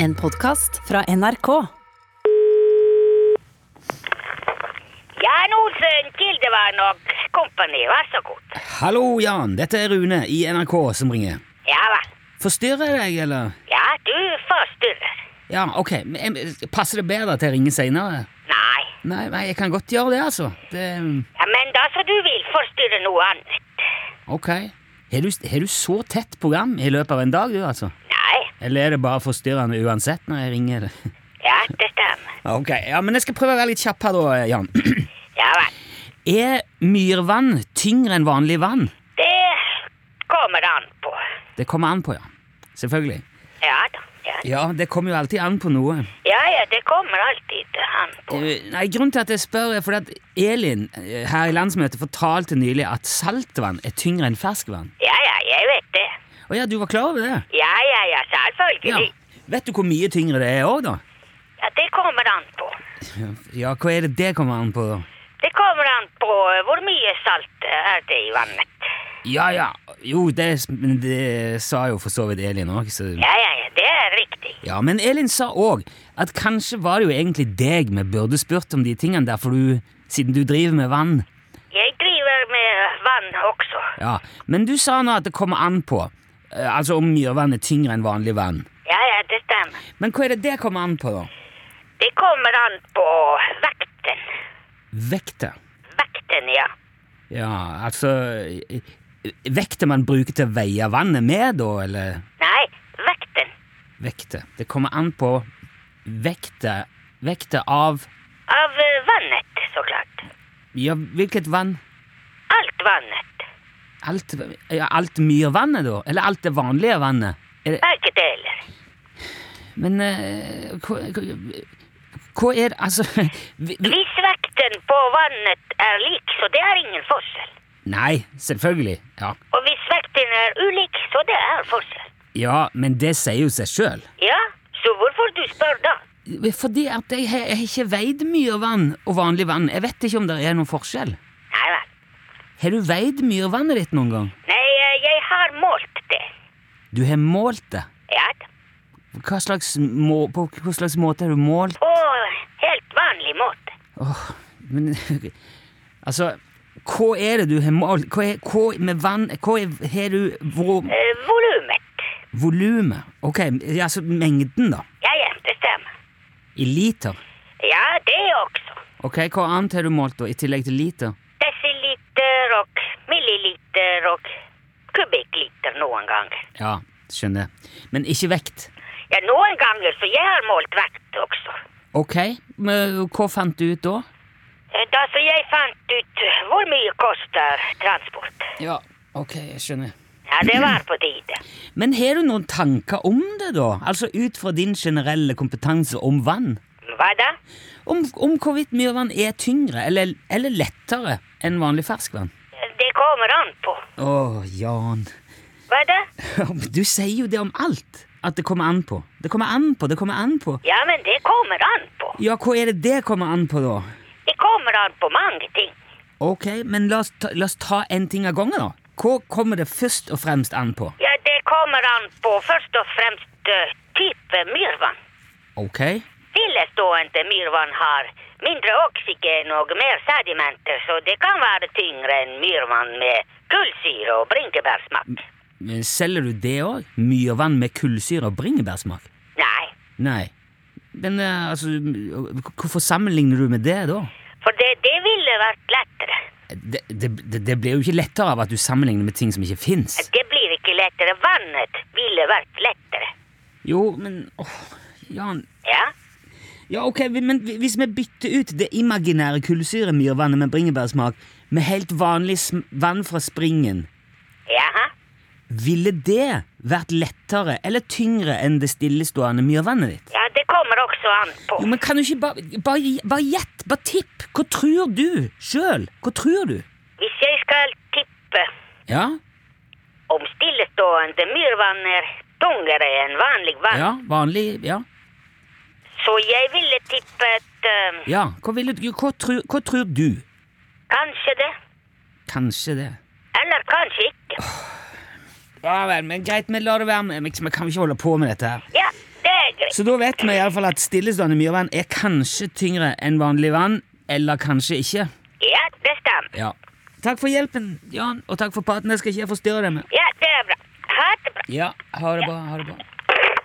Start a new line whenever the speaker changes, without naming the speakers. En podkast fra NRK.
Jan Olsen, Kildevern og kompani, vær så god.
Hallo, Jan. Dette er Rune i NRK som ringer.
Ja vel.
Forstyrrer jeg deg, eller?
Ja, du forstyrrer.
Ja, ok. Men jeg- Passer det bedre at jeg ringer seinere?
Nei.
Nei, nei, jeg kan godt gjøre det, altså. Det,
Ja, men da så du vil forstyrre noe annet.
ok. Har du, har du så tett program i løpet av en dag, du, altså?
Nei.
Eller er det bare forstyrrende uansett når jeg ringer? det?
Ja, det stemmer.
Ok, ja, men jeg skal prøve å være litt kjapp her, da, eh, Jan.
Ja vel.
Er myrvann tyngre enn vanlig vann?
Det kommer an på.
Det kommer an på, ja. Selvfølgelig.
Ja da. Ja,
Ja, det kommer jo alltid an på noe.
ja, ja det kommer alltid an på.
Eh, Nei, Grunnen til at jeg spør, er fordi at Elin eh, her i landsmøtet fortalte nylig at saltvann er tyngre enn ferskvann.
Ja, ja, jeg vet det.
Å ja, du var klar over det?
Ja, ja, ja, selvfølgelig.
Vet du hvor mye tyngre det er òg, da?
Ja, det kommer an på.
Ja, hva er det det kommer an på, da?
Det kommer an på eh, hvor mye salt eh, er det i vannet.
Ja ja, jo, det, men det sa jo for så vidt Elin òg, så
Ja, ja, ja, det er riktig.
Ja, men Elin sa òg at kanskje var det jo egentlig deg vi burde spurt om de tingene der, for du, siden du driver med vann.
Jeg driver med vann også.
Ja, Men du sa nå at det kommer an på. eh, Altså om myrvann er tyngre enn vanlig vann.
Ja, ja, det stemmer.
Men hva er det det kommer an på, da?
Det kommer an på vekten.
Vekta.
Vekten, ja.
Ja, altså eh, Vekta man bruker til å veie vannet med, da, eller
Nei, vekten
vekta? Det kommer an på vekta Vekta av
av eh, vannet, så klart.
Ja, hvilket vann?
Alt vannet.
Alt, ja, alt myrvannet, da? Eller alt det vanlige vannet? Er det,
Begge deler.
men eh, hva, hva- hva er det Altså vi, vi,
Hvis vekten på vannet er lik, så det er ingen forskjell.
Nei, selvfølgelig. Ja.
Og hvis vekten er ulik, så det er forskjell.
ja, men det sier jo seg sjøl.
Ja, så hvorfor du spør da?
Fordi at jeg har jeg har ikke veid myrvann og vanlig vann. Jeg vet ikke om det er noen forskjell.
Nei vel.
Har du veid myrvannet ditt noen gang?
Nei, eh, jeg har målt det.
Du har målt det.
Ja, da.
Hva slags må, på hva slags måte har du målt
på helt vanlig måte.
Åh, men, Altså, hva er det du har målt? Hva, er, hva med vann Hva er, har du hvor,
Eh, Volumet.
Volumet? Ok, ja, altså mengden, da.
Ja, ja, det stemmer.
I liter.
Ja, det også.
Ok, Hva annet har du målt, da, i tillegg til liter?
Desiliter og milliliter og kubikkliter noen ganger.
Ja, skjønner. Men ikke vekt.
Ja, noen ganger, så jeg har målt vekt også.
Ok, men hva fant du ut da?
Eh, Da så jeg fant ut hvor mye koster transport.
Ja, ok, jeg skjønner.
Ja, det var på tide.
Men har du noen tanker om det, da? Altså ut fra din generelle kompetanse om vann?
Hva da?
Om, om hvorvidt myrvann er tyngre eller, eller lettere enn vanlig ferskvann?
Eh, Det kommer an på.
Å, Jan.
Hva da?
Du sier jo det om alt. At det kommer an på. Det kommer an på, det kommer an på.
Ja, men det kommer an på.
Ja, hva er det det kommer an på, da?
Det kommer an på mange ting.
Ok, men la oss ta, la oss ta en ting av gangen, da. Hva kommer det først og fremst an på?
Ja, det kommer an på først og fremst eh, type myrvann.
Ok?
Stillestående myrvann har mindre oksygen og mer sedimenter, så det kan være tyngre enn myrvann med kullsyre og bringebærsmak.
Men Selger du det òg? Myrvann med kullsyre og bringebærsmak?
Nei,
Nei. Men eh, altså, hvorfor sammenligner du med det, da?
for det, det ville vært lettere.
Det, det, det- det blir jo ikke lettere av at du sammenligner med ting som ikke fins.
Det blir ikke lettere. Vannet ville vært lettere.
Jo, men åh, Jan
Ja,
Ja, ok, vi- men hvis vi bytter ut det imaginære kullsyremyrvannet med bringebærsmak med helt vanlig sm vann fra springen,
jaha.
ville det vært lettere eller tyngre enn det stillestående myrvannet ditt?
Ja, det kommer også an på.
Jo, men kan du ikke bare Bare gi- bare gjett, bare tipp! Hva tror du sjøl? Hva tror du?
Hvis jeg skal tippe
Ja?
om stillestående myrvann er tungere enn vanlig vann,
Ja, vanlig Ja.
så jeg ville tippet eh,
Ja, hva, ville du, hva, tror, hva tror du?
kanskje det,
Kanskje det.
eller kanskje ikke.
Ja vel, men greit, vi lar det være med. Vi kan ikke holde på med dette her.
Ja, det er greit. greit.
Så da vet vi i alle fall at stillestående myrvann er kanskje tyngre enn vanlig vann, eller kanskje ikke.
Ja, det stemmer.
Ja. Takk for hjelpen, Jan, og takk for praten. Det skal ikke jeg forstyrre deg med.
Ja, det er bra. Ha det bra.
Ja, ha det bra. ha det bra.